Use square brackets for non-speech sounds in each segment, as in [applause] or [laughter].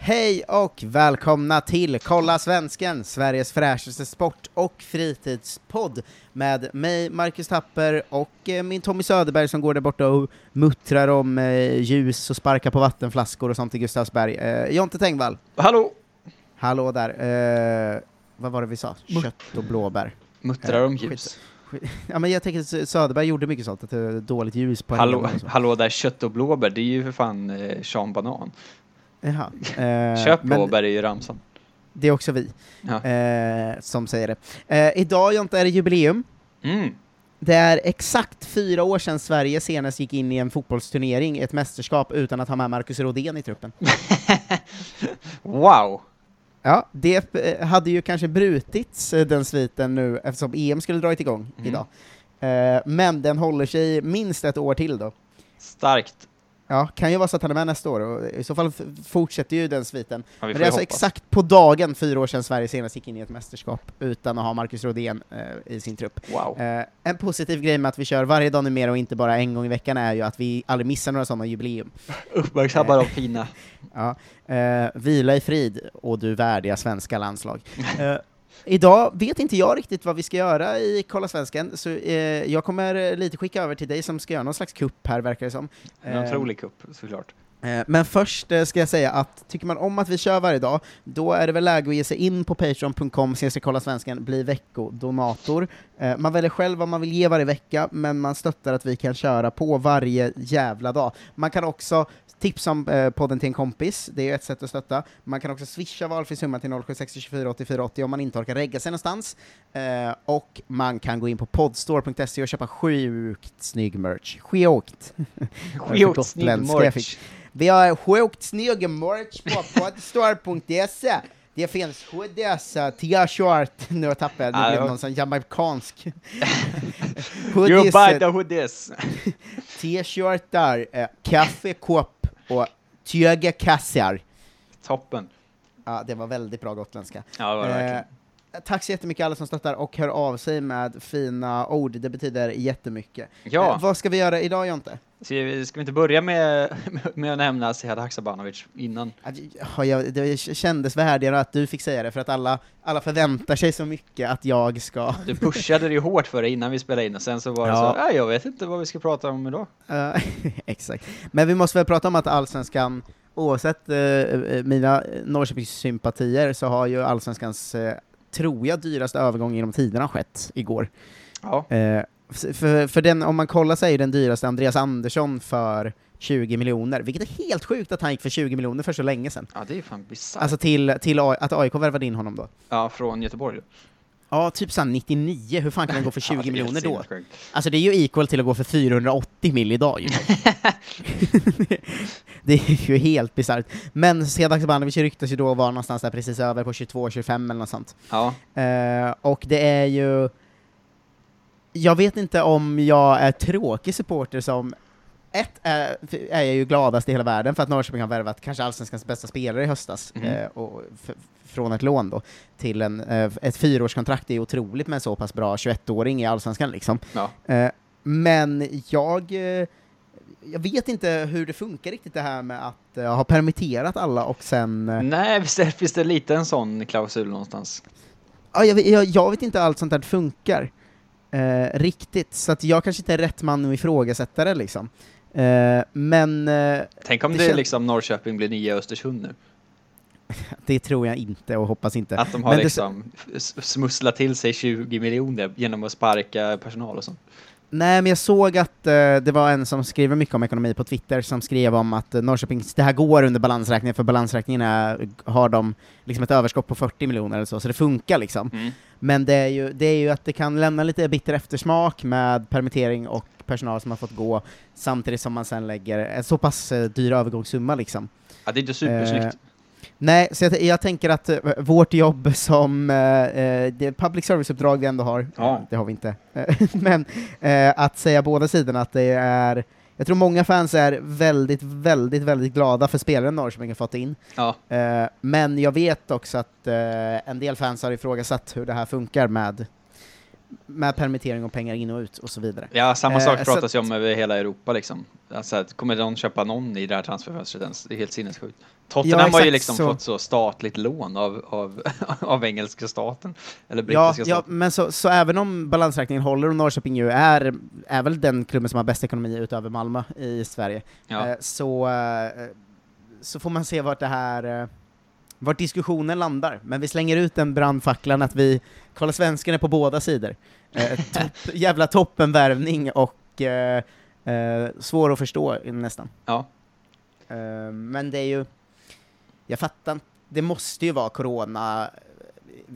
Hej och välkomna till Kolla Svensken, Sveriges fräschaste sport och fritidspodd med mig, Marcus Tapper, och eh, min Tommy Söderberg som går där borta och muttrar om eh, ljus och sparkar på vattenflaskor och sånt i Gustavsberg. Eh, Jonte Tengvall, Hallå! hallå där. Eh, vad var det vi sa? Kött och blåbär. Muttrar om Eh, skit. [laughs] ljus. Ja, men jag tänker att Sö- Söderberg gjorde mycket sånt, att det var dåligt ljus på Hallå, helgerna och så. hallå där, kött och blåbär, det är ju för fan eh, Sean Banan. Jaha. Eh, [laughs] Köp men- blåbär är ju ramsan. Det är också vi Ja. eh, som säger det. Eh, idag Jonte är det jubileum. Mm. Det är exakt fyra år sedan Sverige senast gick in i en fotbollsturnering, ett mästerskap, utan att ha med Marcus Rodén i truppen. Wow! Ja, det eh, hade ju kanske brutits, eh, den sviten, nu eftersom EM skulle dragit igång Mm. idag. Eh, men den håller sig minst ett år till då. Starkt. Ja, kan ju vara så att han är med nästa år, och i så fall f- fortsätter ju den sviten. Ja, vi Men får det är ju alltså hoppas. exakt på dagen fyra år sedan Sverige senast gick in i ett mästerskap utan att ha Marcus Rodén eh, i sin trupp. Wow. Eh, en positiv grej med att vi kör varje dag numera och inte bara en gång i veckan är ju att vi aldrig missar några sådana jubileum. Uppmärksamma de eh, fina. Ja. Eh, vila i frid, och du värdiga svenska landslag. Eh, idag vet inte jag riktigt vad vi ska göra i Kolla Svensken, så eh, jag kommer eh, lite skicka över till dig som ska göra någon slags kupp här, verkar det som. En Eh, otrolig kupp, såklart. Eh, Men först eh, ska jag säga att tycker man om att vi kör varje dag, då är det väl läge att ge sig in på patreon.com, ses kolla svenskan, bli veckodonator. Eh, Man väljer själv vad man vill ge varje vecka, men man stöttar att vi kan köra på varje jävla dag. Man kan också tipsa om eh, podden till en kompis, det är ett sätt att stötta. Man kan också swisha valfri summa till 0760 24 84 80 om man inte orkar regga sig någonstans. Eh, Och man kan gå in på podstore.se och köpa sjukt snygg merch. Sjukt! eh, Sjukt snygg gotländska jag merch. fick. Vi har sjukt snygg merch på [laughs] podstore.se. Det finns hoodies, eh, t-shirt, [laughs] nu tappade jag, Ah, nu blev Ja, det det var- någon sån [laughs] jamaicansk. You hoodies, eh, buy the hoodies! t-shirtar, eh, kaffekopp och tygekassar. Toppen. Ja, det var väldigt bra gotländska. Ja, det var det verkligen. Eh, Tack så jättemycket alla som stöttar och hör av sig med fina ord, det betyder jättemycket. Ja. Eh, vad ska vi göra idag Jonte? Ska vi, ska vi inte börja med, [laughs] med att nämna Sead Haksabanovic innan? Att- ja, jag- Det kändes värdigare att du fick säga det, för att alla, alla förväntar sig så mycket att jag ska... [laughs] Du pushade dig hårt för det innan vi spelade in och sen så var det Ja. så, "Ah, jag vet inte vad vi ska prata om idag. Eh, exakt. Men vi måste väl prata om att allsvenskan, oavsett eh, eh, mina Norrköpingssympatier, så har ju allsvenskans, eh, tror jag, dyraste övergång genom tiderna skett igår. Ja. Eh, f- för, för den, om man kollar så är ju den dyraste Andreas Andersson för 20 miljoner, vilket är helt sjukt att han gick för 20 miljoner för så länge sedan. Ja, det är fan bisarrt. Alltså till, till A- att AIK värvade in honom då. ja, från Göteborg. Ja, typ såhär 99, hur fan kan den gå för 20 [laughs] ja, det är miljoner då? sinnessjukt. Alltså det är ju equal till att gå för 480 mil idag [laughs] ju. [laughs] det är ju helt bisarrt. Men Sead Haksabanovic ryktas ju då vara någonstans där precis över på 22-25 eller något sånt. Ja, Eh, och det är ju... Jag vet inte om jag är tråkig supporter som... Ett är, är jag ju gladast i hela världen för att Norrköping har värvat kanske allsvenskans bästa spelare i höstas, Mhm. eh, och f- från ett lån då, till en, eh, ett fyraårskontrakt är ju otroligt med en så pass bra 21-åring i allsvenskan liksom. ja. Eh, men jag, eh, jag vet inte hur det funkar riktigt det här med att eh, ha permitterat alla och sen... eh, Nej, visst är, visst är det lite en sån klausul någonstans? Ja, jag, vet- jag, jag vet inte hur allt sånt här funkar eh, riktigt, så att jag kanske inte är rätt man att ifrågasätta det liksom. Eh, men eh, Tänk om Det det, kän- liksom Norrköping blir nya Östersund nu? det tror jag inte och hoppas inte. Att de har men det- liksom s- smusslat till sig 20 miljoner genom att sparka personal och sånt. Nej, men jag såg att eh, det var en som skriver mycket om ekonomi på Twitter som skrev om att eh, Norrköping, det här går under balansräkningen, för balansräkningen är, har de liksom ett överskott på 40 miljoner eller så, så det funkar liksom. Mm. Men det är, ju, det är ju att det kan lämna lite bitter eftersmak med permittering och personal som har fått gå, samtidigt som man sen lägger en så pass eh, dyr övergångssumma liksom. Ja, det är inte supersnyggt. Eh. Nej, så jag, jag tänker att eh, vårt jobb [laughs] som eh, eh, det public service-uppdrag vi ändå har, Ja. det har vi inte, [laughs] men eh, att säga båda sidorna att det är jag tror många fans är väldigt, väldigt, väldigt glada för spelaren Norrköping har fått in. Ja, Eh, men jag vet också att eh, en del fans har ifrågasatt hur det här funkar med, med permittering och pengar in och ut och så vidare. Ja, samma Eh, sak så pratas att- ju om över hela Europa liksom. Alltså, att kommer någon köpa någon i det här transferfönstret ens? Det är helt sinnessjukt. Tottenham har exakt, ju liksom så- fått så statligt lån av, av, [laughs] av engelska staten. Eller Ja, brittiska ja, staten. men så, så även om balansräkningen håller och Norrköping ju är, är väl den klubben som har bäst ekonomi utöver Malmö i Sverige, Ja. eh, så, eh, så får man se vart det här eh, vart diskussionen landar. Men vi slänger ut den brandfacklan att vi kollar svensken är på båda sidor. Eh, topp, jävla toppenvärvning och eh, eh, svår att förstå nästan. ja. Eh, men det är ju, jag fattar inte. Det måste ju vara corona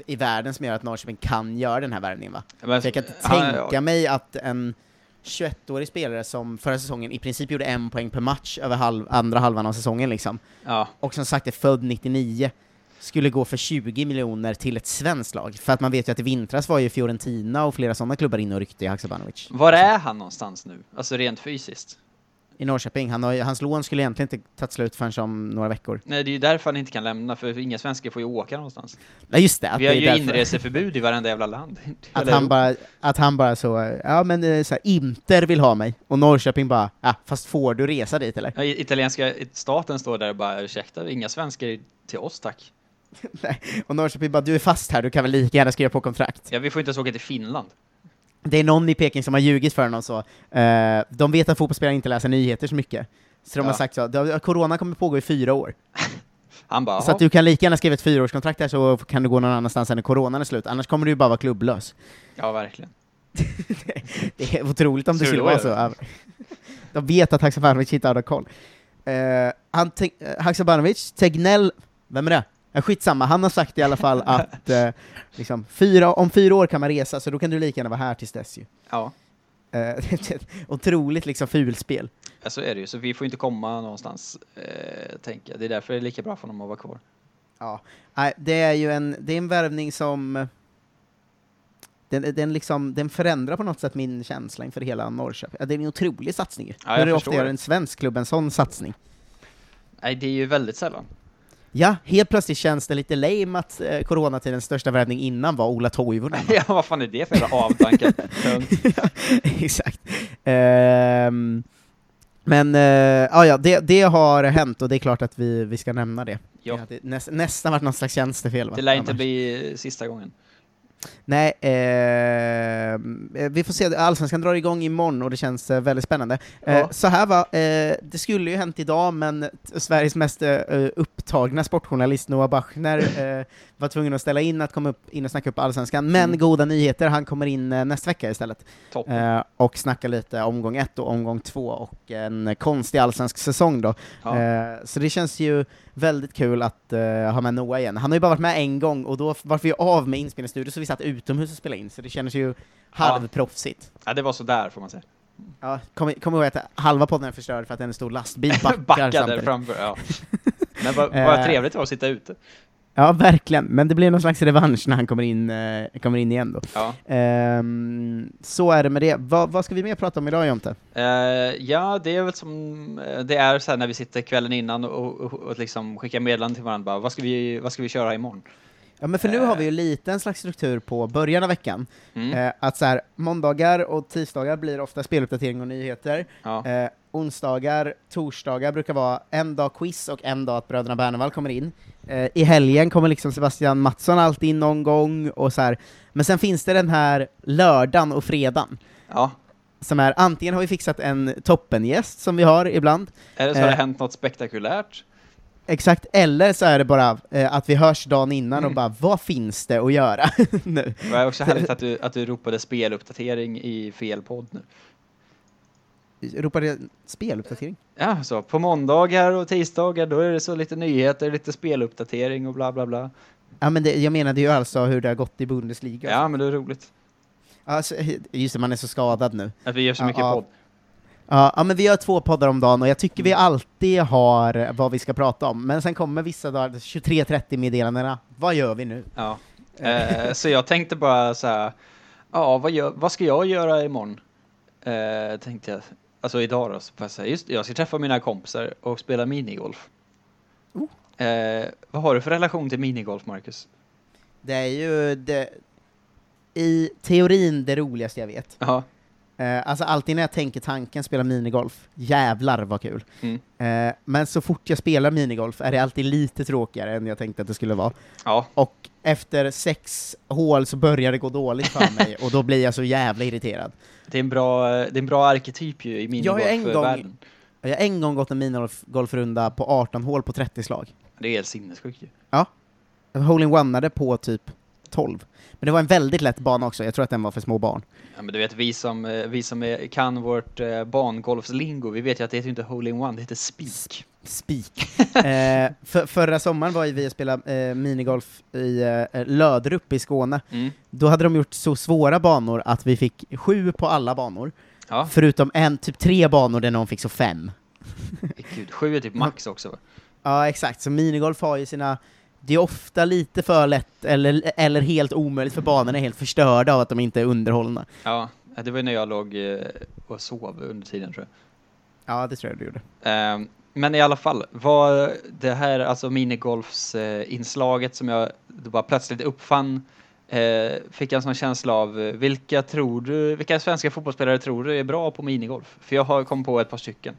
i världen som gör att Norrköping kan göra den här värvningen va? Men, För jag kan inte han- tänka mig att en 21-årig spelare som förra säsongen i princip gjorde en poäng per match över halv, andra halvan av säsongen liksom, Ja, och som sagt är född 99, skulle gå för 20 miljoner till ett svenskt lag. För att man vet ju att i vintras var ju Fiorentina och flera sådana klubbar inne och ryckte i Haksabanovic. var är han någonstans nu? Alltså rent fysiskt. I Norrköping, han har, ju- hans lån skulle egentligen inte tagit slut förrän om några veckor. Nej, det är ju därför han inte kan lämna, för inga svenskar får ju åka någonstans. Nej just det, att Vi har det är ju därför- inreseförbud i varenda jävla land. [laughs] Att Eller- han, bara, att han bara så, eh, ja men eh, så här, Inter vill ha mig, och Norrköping bara, ja fast får du resa dit eller? Ja, i- Italienska staten står där och bara ursäkta, inga svenskar till oss tack. [laughs] Nej. Och Norrköping bara, du är fast här, du kan väl lika gärna skriva på kontrakt. Ja, vi får inte ens åka till Finland. Det är någon i Peking som har ljugit för honom så. Eh, de vet att fotbollsspelare inte läser nyheter så mycket. Så de Ja. har sagt så, "Du- corona kommer pågå i fyra år. Han bara, Så att "Jaha." du kan lika gärna skriva ett fyraårskontrakt här så kan du gå någon annanstans än när coronan är slut, annars kommer du ju bara vara klubblös. ja verkligen. [laughs] Det är otroligt om det Tur skulle då, vara ja. så. Ja. De vet att Haksabanovic inte har någon koll. Eh, han te- eh, Haksabanovic, Tegnell, vem är det? Ja, skitsamma, han har sagt i alla [laughs] fall att eh, liksom, fyra, om fyra år kan man resa, så då kan du lika gärna vara här tills dess ju. Ja, Eh, [laughs] det är ett otroligt liksom fulspel. ja, så är det ju. Så vi får inte komma någonstans, eh, tänker jag. Det är därför det är lika bra för honom att vara kvar. Ja. Nej, det är ju en, det är en värvning som... Den, den, liksom, den förändrar på något sätt min känsla inför hela Norrköping. Ja, det är en otrolig satsning ju. jag Hur är det förstår ofta gör det. en svensk klubb en sån satsning? Nej, det är ju väldigt sällan. [laughs] Ja, helt plötsligt känns det lite lame att eh, coronatidens största värvning innan var Ola [laughs] Toivonen. ja, vad fan är det för [laughs] jävla avtankar? Tönt. Exakt. Ehm, men eh, ja, ja, det, det har hänt och det är klart att vi, vi ska nämna det. Ja. Det hade näs, nästan varit något slags tjänstefel va? Det lär inte Annars. bli sista gången. Nej, ehm, eh, vi får se. Allsvenskan drar igång imorgon och det känns eh, väldigt spännande. Eh, Ja. så här va, eh, det skulle ju hänt idag men t- Sveriges mest eh, upptagna sportjournalist Noah [laughs] Bachner eh, var tvungen att ställa in att komma upp, in och snacka upp Allsvenskan. Men Mm. goda nyheter, han kommer in eh, nästa vecka istället Toppen. eh, och snackar lite omgång ett och omgång två och en konstig allsvensk säsong då. Ja. Eh, så det känns ju väldigt kul att eh, ha med Noah igen. Han har ju bara varit med en gång, och då f- var vi av med inspelningsstudion, så vi satt utomhus och spelade in, så det kändes ju halvproffsigt. ja, det var så där får man säga. Ja, kom, kom ihåg att halva podden är förstörd för att en stor lastbil [laughs] [laughs] backar Backade samtidigt. framför, [laughs] ja. Men vad, Eh. vad trevligt det var att sitta ute. Ja, verkligen. Men det blir någon slags revansch när han kommer in, eh, kommer in igen då. Ja. Ehm, så är det med det. Va, vad ska vi mer prata om idag, Jonte? Eh, ja, det är väl som eh, det är så här när vi sitter kvällen innan och, och, och liksom skickar meddelanden till varandra. Bara, vad, ska vi, vad ska vi köra imorgon? Ja, men för nu har vi ju lite en slags struktur på början av veckan. Mm. Eh, att så här, måndagar och tisdagar blir ofta speluppdatering och nyheter. Ja. Eh, onsdagar, torsdagar brukar vara en dag quiz och en dag att bröderna Bernevall kommer in. Eh, I helgen kommer liksom Sebastian Mattsson alltid in någon gång och så här. Men sen finns det den här lördagen och fredagen ja. som är antingen har vi fixat en toppengäst som vi har ibland, Eller så har Eh. det hänt något spektakulärt. exakt, eller så är det bara eh, att vi hörs dagen innan och bara vad finns det att göra [laughs] nu? Det var [laughs] också härligt att du, att du ropade speluppdatering i fel podd nu. Ropar det speluppdatering? Ja, så på måndagar och tisdagar då är det så lite nyheter, lite speluppdatering och bla bla bla. Ja men det, jag menade ju alltså hur det har gått i Bundesliga. Ja, men det är roligt Alltså, just det, man är så skadad nu. att vi gör så Ja, mycket ja. podd. Ja, ja, men vi gör två poddar om dagen och jag tycker vi alltid har vad vi ska prata om, men sen kommer vissa dagar, 23.30 meddelandena, vad gör vi nu? Ja. Eh, så jag tänkte bara så här, ja, vad, gör, vad ska jag göra imorgon? Eh, tänkte jag. Alltså idag då, så får jag säga, just det, jag ska träffa mina kompisar och spela minigolf. Oh. Eh, vad har du för relation till minigolf, Marcus? Det är ju, det, i teorin det roligaste jag vet. Ja. Eh, alltså alltid när jag tänker tanken spela minigolf, jävlar vad kul. Mm. Eh, men så fort jag spelar minigolf är det alltid lite tråkigare än jag tänkte att det skulle vara. Ja. Och efter sex hål så börjar det gå dåligt för mig och då blir jag så jävla irriterad. Det är en bra, eh, det är en bra arketyp ju i Jag har ju en gång- minigolfvärlden. Jag har en gång gått en minigolfrunda på 18 hål på 30 slag. Det är helt sinnessjukt ju. Jag hole-in-oneade på typ 12. Men det var en väldigt lätt bana också, jag tror att den var för små barn. Ja, men du vet, vi som, eh, vi som är, kan vårt eh, bangolfslingo, vi vet ju att det heter ju inte hole-in-one, det heter spik. Spik. [laughs] eh, för, förra sommaren var ju vi och spelade eh, minigolf i eh, Löderup i Skåne. Mm. Då hade de gjort så svåra banor att vi fick sju på alla banor, Ja, förutom en, typ tre banor där någon fick så fem. gud, sju är typ max också. Ja, exakt. Så minigolf har ju sina... Det är ofta lite för lätt, eller, eller helt omöjligt, för banorna är helt förstörda av att de inte är underhållna. Ja, det var ju när jag låg eh, och sov under tiden tror jag. Ja, det tror jag du gjorde. Ehm, Men i alla fall, var det här alltså minigolfsinslaget som jag då bara plötsligt uppfann eh, fick jag en sån känsla av eh, vilka tror du, vilka svenska fotbollsspelare tror du är bra på minigolf? För jag har kommit på ett par stycken.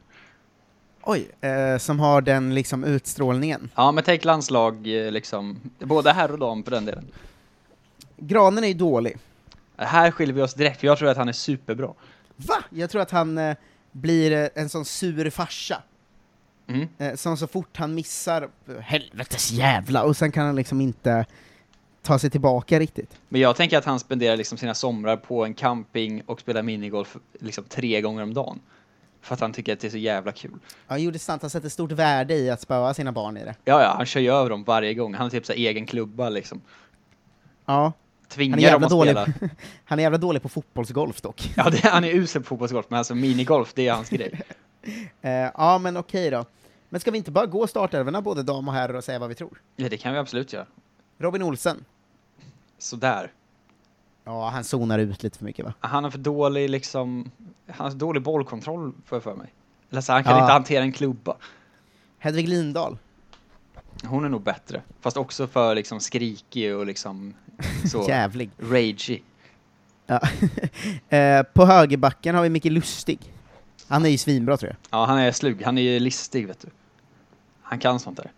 Oj, eh, som har den liksom utstrålningen. Ja, men tänk landslag eh, liksom, både herr och dam för den delen. Granen är ju dålig. Eh, Här skiljer vi oss direkt, för jag tror att han är superbra. Va? Jag tror att han eh, blir eh, en sån sur farsa, Mm. eh, som så fort han missar, eh, helvetes jävla, och sen kan han liksom inte ta sig tillbaka riktigt. Men jag tänker att han spenderar liksom sina somrar på en camping och spelar minigolf liksom tre gånger om dagen. För att han tycker att det är så jävla kul. Ja, han gjorde sant, han sätter stort värde i att spöa sina barn i det. Ja, ja, han kör ju över dem varje gång. Han har typ så här egen klubba liksom. Ja, han är Tvingar dem jävla att dålig. spela. [laughs] han är jävla dålig på fotbollsgolf dock. Ja, det, han är usel på fotbollsgolf, men alltså minigolf, det är hans grej. Eh, ja, men okej då. Men ska vi inte bara gå startelvorna, både dam och herr, och säga vad vi tror? Ja, det kan vi absolut göra. Robin Olsen. Sådär. Ja, han zonar ut lite för mycket va? Han har för dålig liksom, han har för dålig bollkontroll får jag för mig. Eller så, han kan Ja. inte hantera en klubba. Hedvig Lindahl. Hon är nog bättre. Fast också för liksom skrikig och liksom [laughs] så Jävlig. ragey. Ja. [laughs] eh, på högerbacken har vi Micke Lustig. Han är ju svinbra tror jag. Ja, han är slug. Han är ju listig, vet du. Han kan sånt där.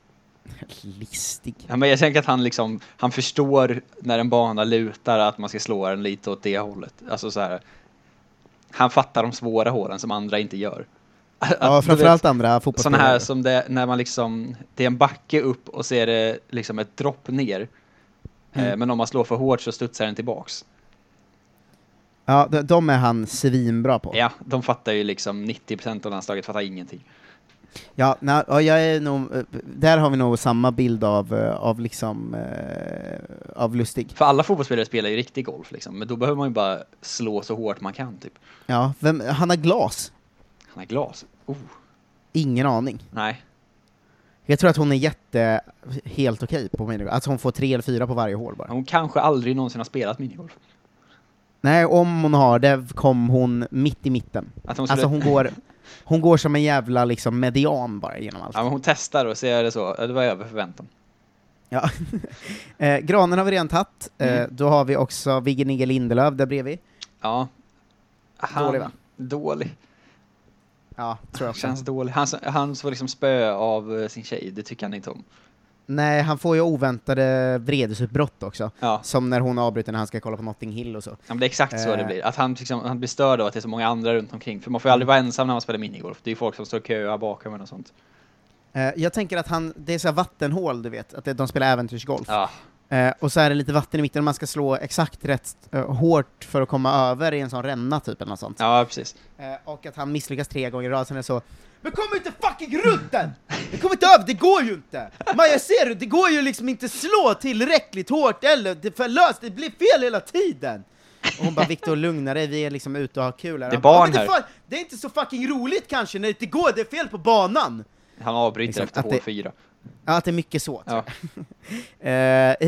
Listig. Ja, men jag tänker att han liksom, han förstår när en bana lutar att man ska slå den lite åt det hållet. Alltså så här. Han fattar de svåra hålen som andra inte gör. Att- Ja, du framförallt andra vet, Sådana här fotbollsspelare. som det, när man liksom, det är en backe upp och så är det liksom ett dropp ner. Mm. Eh, Men om man slår för hårt så studsar den tillbaks. Ja, de, de är han svinbra på. Ja, de fattar ju liksom 90% av landslaget fattar ingenting. Ja, na, ja, jag är nog, eh, där har vi nog samma bild av, eh, av liksom, eh, av Lustig. För alla fotbollsspelare spelar ju riktig golf liksom, men då behöver man ju bara slå så hårt man kan typ. Ja, vem, Hanna Glas. Han har glas. Oh, Ingen aning. nej. Jag tror att hon är jätte, helt okej på minigolf. Alltså hon får tre eller fyra på varje hål bara. Hon kanske aldrig någonsin har spelat minigolf. Nej, om hon har det kom hon mitt i mitten. Att hon skulle, Alltså hon går, hon går som en jävla liksom median bara genom allt. [laughs] ja, men hon testar och ser det så, Ja, det var över förväntan. Ja. [laughs] eh, granen har vi redan tagit, eh, Mm. då har vi också Vigge Nigge Lindelöf där bredvid. Ja. Han, Dålig, va? Dålig. Ja, tror jag också. Känns dålig. Han, som- han får liksom spö av eh, sin tjej, det tycker han inte om. Nej, han får ju oväntade vredesutbrott också. Ja, Som när hon avbryter när han ska kolla på Notting Hill och så. ja men det är exakt så det Eh. blir. Att han, liksom, han blir störd av att det är så många andra runt omkring. För man får ju aldrig vara ensam när man spelar minigolf. Det är ju folk som står och köar bakom en och sånt. Eh, jag tänker att han, det är så här vattenhål du vet, att det, de spelar äventyrsgolf. Ja, Eh, och så är det lite vatten i mitten och man ska slå exakt rätt eh, hårt för att komma över i en sån ränna typ eller något sånt. ja precis. Eh, och att han misslyckas tre gånger i rad, sen är det så Men kom inte fucking runt den! Jag kommer inte över, det går ju inte! Maja ser du, det går ju liksom inte slå tillräckligt hårt eller det är för löst, det blir fel hela tiden! Och hon bara Viktor lugna dig, vi är liksom ute och har kul här. Det är Han bara, barn "Ja, men det, här." är fan- det är inte så fucking roligt kanske när det inte går, det är fel på banan! Han avbryter Liksom, efter att hål det- fyra. Ja, att det är mycket så. Ja. [laughs] Eh,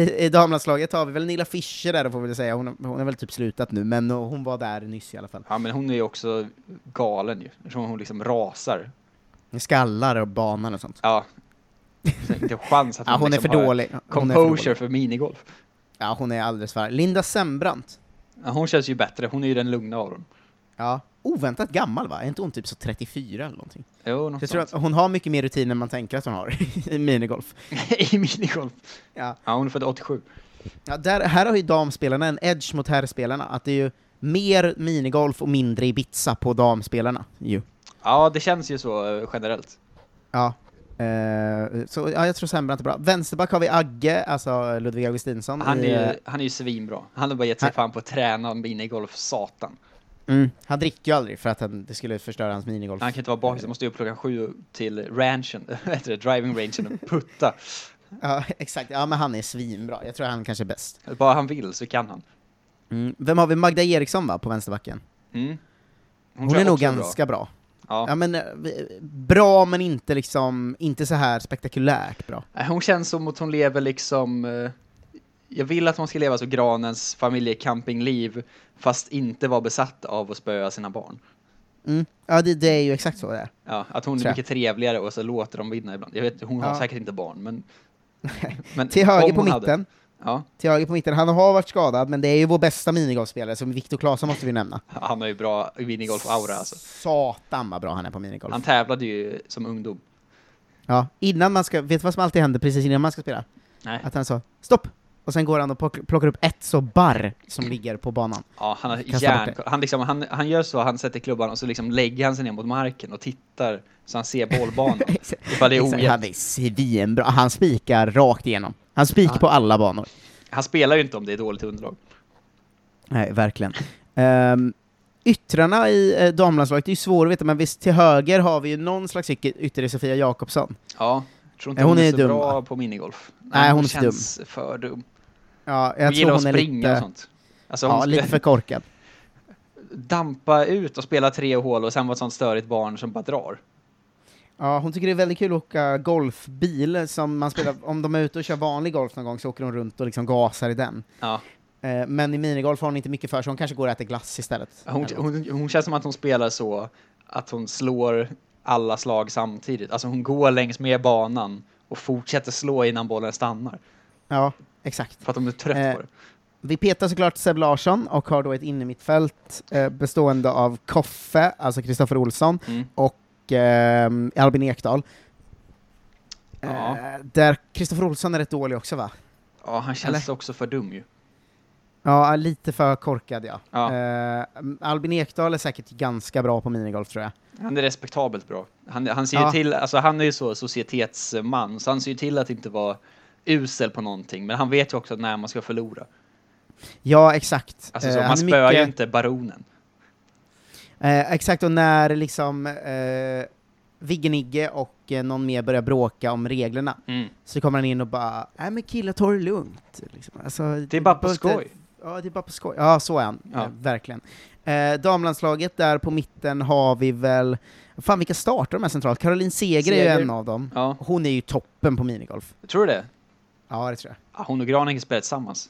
I, I damlandslaget har vi väl Nilla Fischer där, får vi väl säga. Hon, har- hon har väl typ slutat nu, men eh, hon var där nyss i alla fall. ja, men hon är ju också galen ju. Eftersom hon liksom rasar. Skallar och banan och sånt. Ja. Så Inte en chans att Ja, hon är liksom för har dålig. Hon är för dålig. Composure för minigolf. Ja, hon är alldeles för arg. Linda Sembrant. Ja, hon känns ju bättre, hon är ju den lugna av dem. Ja. Oväntat gammal va? Är inte hon typ så 34 eller någonting? Jo, Så jag tror att hon har mycket mer rutin än man tänker att hon har [laughs] i minigolf. [laughs] I minigolf. Ja. Ja, hon är född 87. Ja, där, här har ju damspelarna en edge mot herrspelarna, att det är ju mer minigolf och mindre Ibiza på damspelarna. Ju. Ja, det känns ju så eh, generellt. Ja. Eh, så ja, jag tror Sembrant är bra. Vänsterback har vi Agge, alltså Ludvig Augustinsson. Han i, eh, är, ju, han är ju svinbra. Han har bara gett sig Han- fan på att träna minigolf, satan. mm, han dricker ju aldrig för att han, det skulle förstöra hans minigolf. Han kan inte vara bakis, Eh. han måste ju upp klockan sju till ranchen, [laughs] vad heter det, driving rangen och putta. Ja, [laughs] exakt. Ja, men han är svinbra. Jag tror han kanske är bäst. Bara han vill så kan han. Mm. Vem har vi? Magda Eriksson va, på vänsterbacken? Mm. Hon, tror är jag nog också ganska bra. Bra. Ja. Ja. men, eh, vi- bra men inte liksom, inte så här spektakulärt bra. Nej, Hon känns som att hon lever liksom... eh, Jag vill att hon ska leva så granens familjecampingliv, fast inte vara besatt av att spöa sina barn. Mm. Ja, det, det är ju exakt så det är. Ja, att hon är Tror jag. mycket trevligare och så låter de vinna ibland. Jag vet, hon har Ja. säkert inte barn, men... men Till höger om på hon mitten, hade- ja, till höger på mitten, han har varit skadad, men det är ju vår bästa minigolfspelare, som Viktor Claesson måste vi nämna. han har ju bra minigolf-aura alltså. Satan vad bra han är på minigolf. Han tävlade ju som ungdom. Ja, innan man ska, vet du vad som alltid händer precis innan man ska spela? Nej. Att han sa stopp! Och sen går han och plock- plockar upp ett så barr som ligger på banan. Ja, han har Kasta järn... bort Han, liksom, han, han gör så, han sätter klubban och så liksom lägger han sig ner mot marken och tittar så han ser bollbanan. Ifall det [laughs] är Exakt, ojämnt. han är svinbra, han spikar rakt igenom. Han spikar på alla banor. Han spelar ju inte om det är dåligt underlag. Nej, verkligen. Ehm, yttrarna i eh, damlandslaget, det är ju svårt att veta, men visst till höger har vi ju någon slags yt- ytter i Sofia Jakobsson. Ja, tror inte Nej, hon, hon är, är så dum, bra va? på minigolf. Nej, hon är för känns för dum. Ja, jag tror Hon gillar hon att är springa och lite, sånt. Alltså hon ja, skulle lite för korkad. dampa ut och spela tre hål och sen vara ett sånt störigt barn som bara drar. Ja, hon tycker det är väldigt kul att åka golfbil, som man spelar, om de är ute och kör vanlig golf någon gång så åker hon runt och liksom gasar i den. Ja. Eh, men i minigolf har hon inte mycket för sig, hon kanske går och äter glass istället. Hon, Eller något. hon, hon känns som att hon spelar så att hon slår alla slag samtidigt. Alltså hon går längs med banan och fortsätter slå innan bollen stannar. Ja, exakt. För att hon är trött Eh, på det. Vi petar såklart Seb Larsson och har då ett innermittfält eh, bestående av Koffe, alltså Kristoffer Olsson, Mm. och ehm, Albin Ekdal. Ja. Eh, där Kristoffer Olsson är rätt dålig också va? Ja, han känns också för dum ju. Ja, lite för korkad ja. Ja. Eh, Albin Ekdal är säkert ganska bra på minigolf tror jag. Han är respektabelt bra. Han, han ser ju Ja. till, alltså han är ju så societetsman, så han ser ju till att inte vara usel på någonting, men han vet ju också när man ska förlora. Ja, exakt. Alltså Eh, så, han man är spöar ju mycket- inte baronen. Eh, exakt, och när liksom eh, Viggenigge och eh, någon mer börjar bråka om reglerna Mm. så kommer han in och bara ”Nej men killar, ta det lugnt”. Liksom. Alltså, Det är bara på behöver skoj. Inte, ja, det är bara på skoj. Ja, så är han. Ja. Eh, verkligen. Eh, damlandslaget, där på mitten har vi väl... Fan vilka startar de här centralt? Caroline Seger, är Seger. ju en av dem. Ja, Hon är ju toppen på minigolf. tror du det? Ja, det tror jag. Ja, Hon och Graning spelar tillsammans.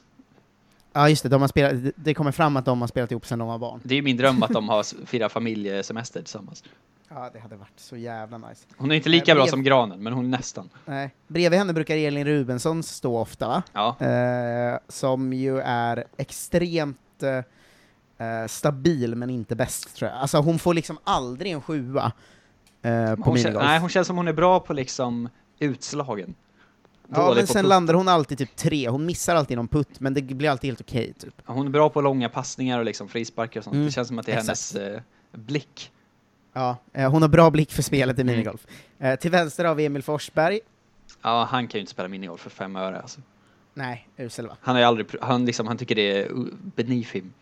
Ja, just det. De har spelat, det- det kommer fram att de har spelat ihop sedan de var barn. Det är ju min dröm att de har s- firar familjesemester tillsammans. Ja, det hade varit så jävla nice. Hon är inte Nej, lika men bra det- som Granen, men hon är nästan. Nej. Bredvid henne brukar Elin Rubensson stå ofta, va? Ja, Eh, som ju är extremt eh, eh, stabil, men inte bäst tror jag. Alltså hon får liksom aldrig en sjua eh, på hon, kän- minigolf. nej, hon känns som hon är bra på liksom utslagen. ja, men Dålig på sen putt. landar hon alltid typ tre, hon missar alltid någon putt, men det blir alltid helt okej typ. Hon är bra på långa passningar och liksom frisparkar och sånt. Mm, Det känns som att det är exakt. hennes eh, blick. Ja, eh, hon har bra blick för spelet i Mm. minigolf. Eh, till vänster har vi Emil Forsberg. Ja, han kan ju inte spela minigolf för fem öre. Alltså. Nej, usel va? Han har ju aldrig, pr- han, liksom, han tycker det är uh, beneath him.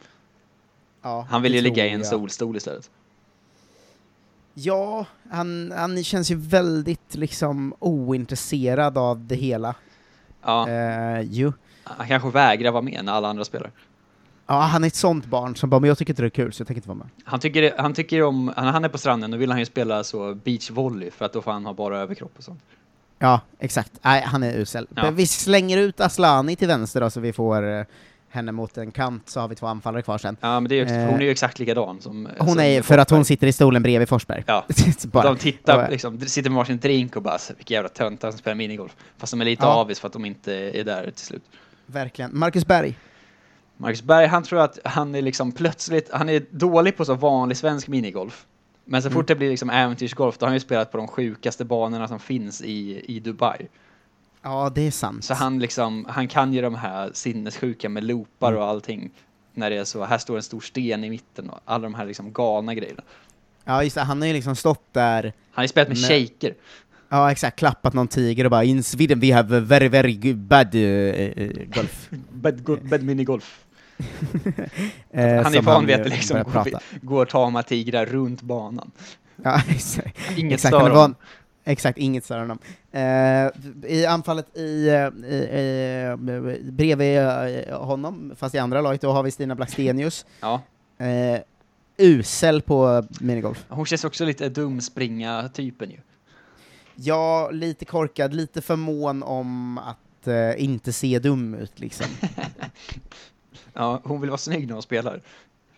Ja, Han vill det ju tror ligga i en jag. solstol istället. Ja, han, han känns ju väldigt liksom ointresserad av det hela. Ja, Eh, ju. han kanske vägrar vara med när alla andra spelar. Ja, han är ett sånt barn som bara, men jag tycker inte det är kul så jag tänker inte vara med. Han tycker, han tycker om, när han är på stranden då vill han ju spela så beachvolley för att då får han ha bara överkropp och sånt. Ja, exakt. Nej, han är usel. Ja. Men vi slänger ut Aslani till vänster då, så vi får eh, henne mot en kant, så har vi två anfallare kvar sen. Ja, men det är ju, ex- Eh. hon är ju exakt likadan som... Hon som är, för att hon sitter i stolen bredvid Forsberg. Alltså, Ja. Så [laughs] bara. De tittar, Ja. liksom, sitter med varsin drink och bara "Så, vilka jävla töntar som spelar minigolf. Fast de är lite Ja. avis för att de inte är där till slut. Verkligen. Marcus Berg. Marcus Berg, han tror att han är liksom plötsligt, han är dålig på så vanlig svensk minigolf. Men Mm. så fort det blir liksom äventyrsgolf, då har han ju spelat på de sjukaste banorna som finns i, i Dubai. Ja, det är sant. Så han liksom, han kan ju de här sinnessjuka med loopar Mm. och allting. När det är så, här står en stor sten i mitten och alla de här liksom galna grejerna. Ja, just det, han har ju liksom stått där Han har ju spelat med Nej. shaker. Ja, exakt. Klappat någon tiger och bara in Sweden we have a very, very good bad eh, eh, [laughs] golf. Bad, go- bad minigolf. Eh, Han är som van vid att ju liksom börjar gå, [laughs] vid- gå och tama tigrar runt banan. Ja, exakt. Inget exakt, stör han är honom. van, exakt, inget stör honom. Eh, I anfallet i, eh, i, eh, bredvid eh, honom, fast i andra laget, då har vi Stina Blackstenius. Ja. Eh, usel på minigolf. Hon känns också lite dumspringa-typen ju. Ja, lite korkad, lite för mån om att eh, inte se dum ut [laughs] liksom. Ja, hon vill vara snygg när hon spelar.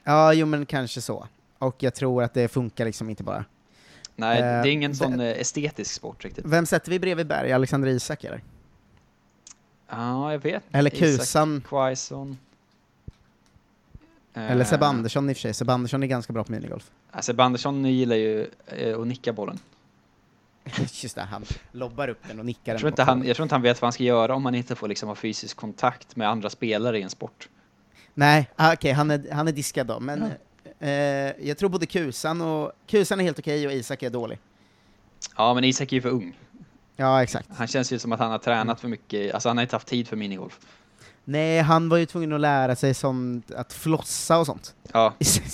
Ja, jo men kanske så. Och jag tror att det funkar liksom inte bara. Nej, Eh, det är ingen det- sån eh, estetisk sport riktigt. Vem sätter vi bredvid Berg? Alexander Isak eller? Ja, jag vet. Eller Isak Kusan, Quaison. eller Eh, Seb Andersson i och för sig. Seb Andersson är ganska bra på minigolf. [laughs] ja, Seb Andersson gillar ju eh, att nicka bollen. Just det, han lobbar upp den och nickar Jag den. tror, mot inte han, mål. jag tror inte han vet vad han ska göra om han inte får liksom ha fysisk kontakt med andra spelare i en sport. Nej, ah, okej, han, är, han är diskad då. Men eh, jag tror både Kusan och... Kusan är helt okej och Isak är dålig. Ja, men Isak är ju för ung. Ja, exakt. Han känns ju som att han har Mm. tränat för mycket. Alltså han har inte haft tid för minigolf. Nej, han var ju tvungen att lära sig sånt, att flossa och sånt. Ja, [laughs] liksom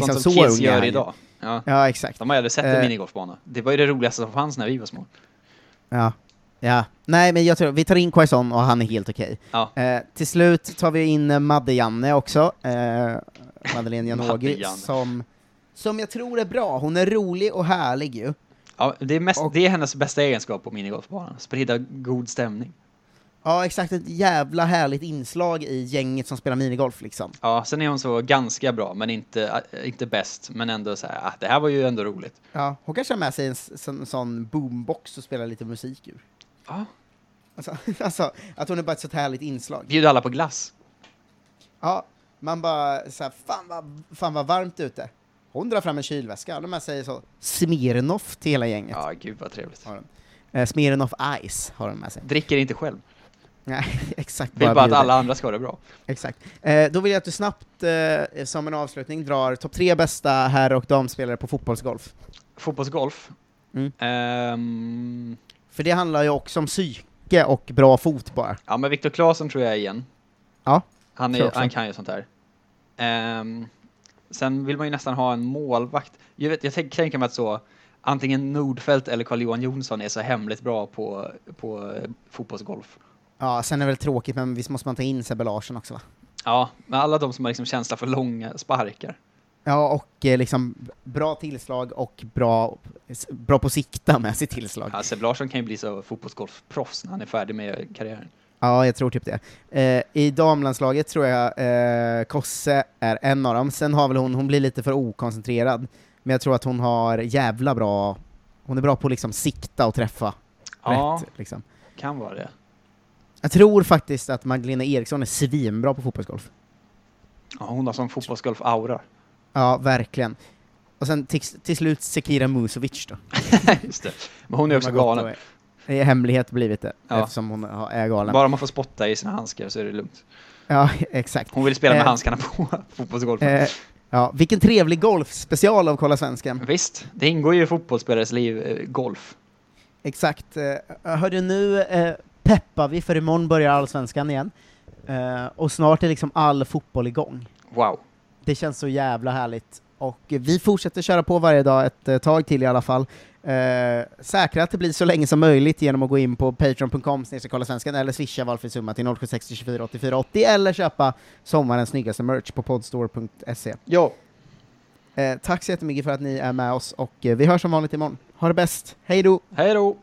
sånt som så kids ung är han gör ju. idag. Ja, Ja, exakt. de har ju aldrig sett en Eh. minigolfbana. Det var ju det roligaste som fanns när vi var små. Ja. ja. Nej, men jag tror, vi tar in Quaison och han är helt okej. Ja. Eh, till slut tar vi in eh, Madde Janne också, eh, Madeleine Janogy, Janne. som, som jag tror är bra. Hon är rolig och härlig ju. Ja, det, är mest, Och- det är hennes bästa egenskap på minigolfbanan. Sprida god stämning. Ja, exakt. Ett jävla härligt inslag i gänget som spelar minigolf liksom. Ja, sen är hon så ganska bra, men inte, äh, inte bäst. Men ändå så här, ah, det här var ju ändå roligt. Ja. Hon kanske har med sig en s- sån, sån boombox och spelar lite musik ur. Ja. Alltså, [laughs] alltså, att hon är bara ett sånt härligt inslag. Bjuda alla på glass. Ja, man bara såhär, fan vad, fan vad varmt ute. Hon drar fram en kylväska, hon har med sig så Smirnoff till hela gänget. Ja, gud vad trevligt. Har hon. Eh, Smirnoff Ice har hon med sig. [laughs] Dricker inte själv. Nej, exakt. Vill bara att bjuder. alla andra ska ha det bra. Exakt. Eh, då vill jag att du snabbt, eh, som en avslutning, drar topp tre bästa herr och damspelare på fotbollsgolf. Fotbollsgolf. Mm. Ehm, För det handlar ju också om psyke och bra fot bara. ja, men Viktor Claesson tror jag igen. Ja, Han, Tror är, jag också. han kan ju sånt här. Ehm, sen vill man ju nästan ha en målvakt. Jag, vet, jag tänk, tänker mig att så antingen Nordfeldt eller Carl-Johan Jonsson är så hemligt bra på, på eh, fotbollsgolf. Ja, sen är det väl tråkigt, men visst måste man ta in Sebbe Larsson också va? Ja, men alla de som har liksom känsla för långa sparkar. Ja, och eh, liksom bra tillslag och bra, s- bra på sikta med sitt tillslag. Ja, Seb Larsson kan ju bli så fotbollsgolfproffs när han är färdig med karriären. Ja, jag tror typ det. Eh, I damlandslaget tror jag eh, Kosse är en av dem. Sen har väl hon, hon blir lite för okoncentrerad, men jag tror att hon har jävla bra, hon är bra på att liksom sikta och träffa Ja, rätt. Liksom. kan vara det. Jag tror faktiskt att Magdalena Eriksson är svinbra på fotbollsgolf. Ja, hon har [laughs] sån fotbollsgolf-aura. Ja, verkligen. Och sen till, till slut Sekira Musovic då. Just det. Men hon är också Hon har gått galen. och- I hemlighet blivit det, Ja. eftersom hon har- är galen. Bara man får spotta i sina handskar så är det lugnt. Ja, [laughs] exakt. Hon vill spela med Eh. handskarna på [laughs] fotbollsgolfen. Eh, ja, vilken trevlig golfspecial av Kolla Svensken. Visst, det ingår ju i fotbollsspelares liv, eh, golf. Exakt. Eh, hörru, nu eh, peppar vi för imorgon börjar Allsvenskan igen. Eh, och snart är liksom all fotboll igång. Wow. Det känns så jävla härligt. Och eh, vi fortsätter köra på varje dag ett eh, tag till i alla fall. Eh, säkra att det blir så länge som möjligt genom att gå in på patreon.com snedstreck Kolla svenskan eller swisha valfri summa till 0760 24 84 80 eller köpa sommarens snyggaste merch på podstore.se. Ja. Eh, tack så jättemycket för att ni är med oss och eh, vi hörs som vanligt imorgon. Ha det bäst, hej då! Hej då!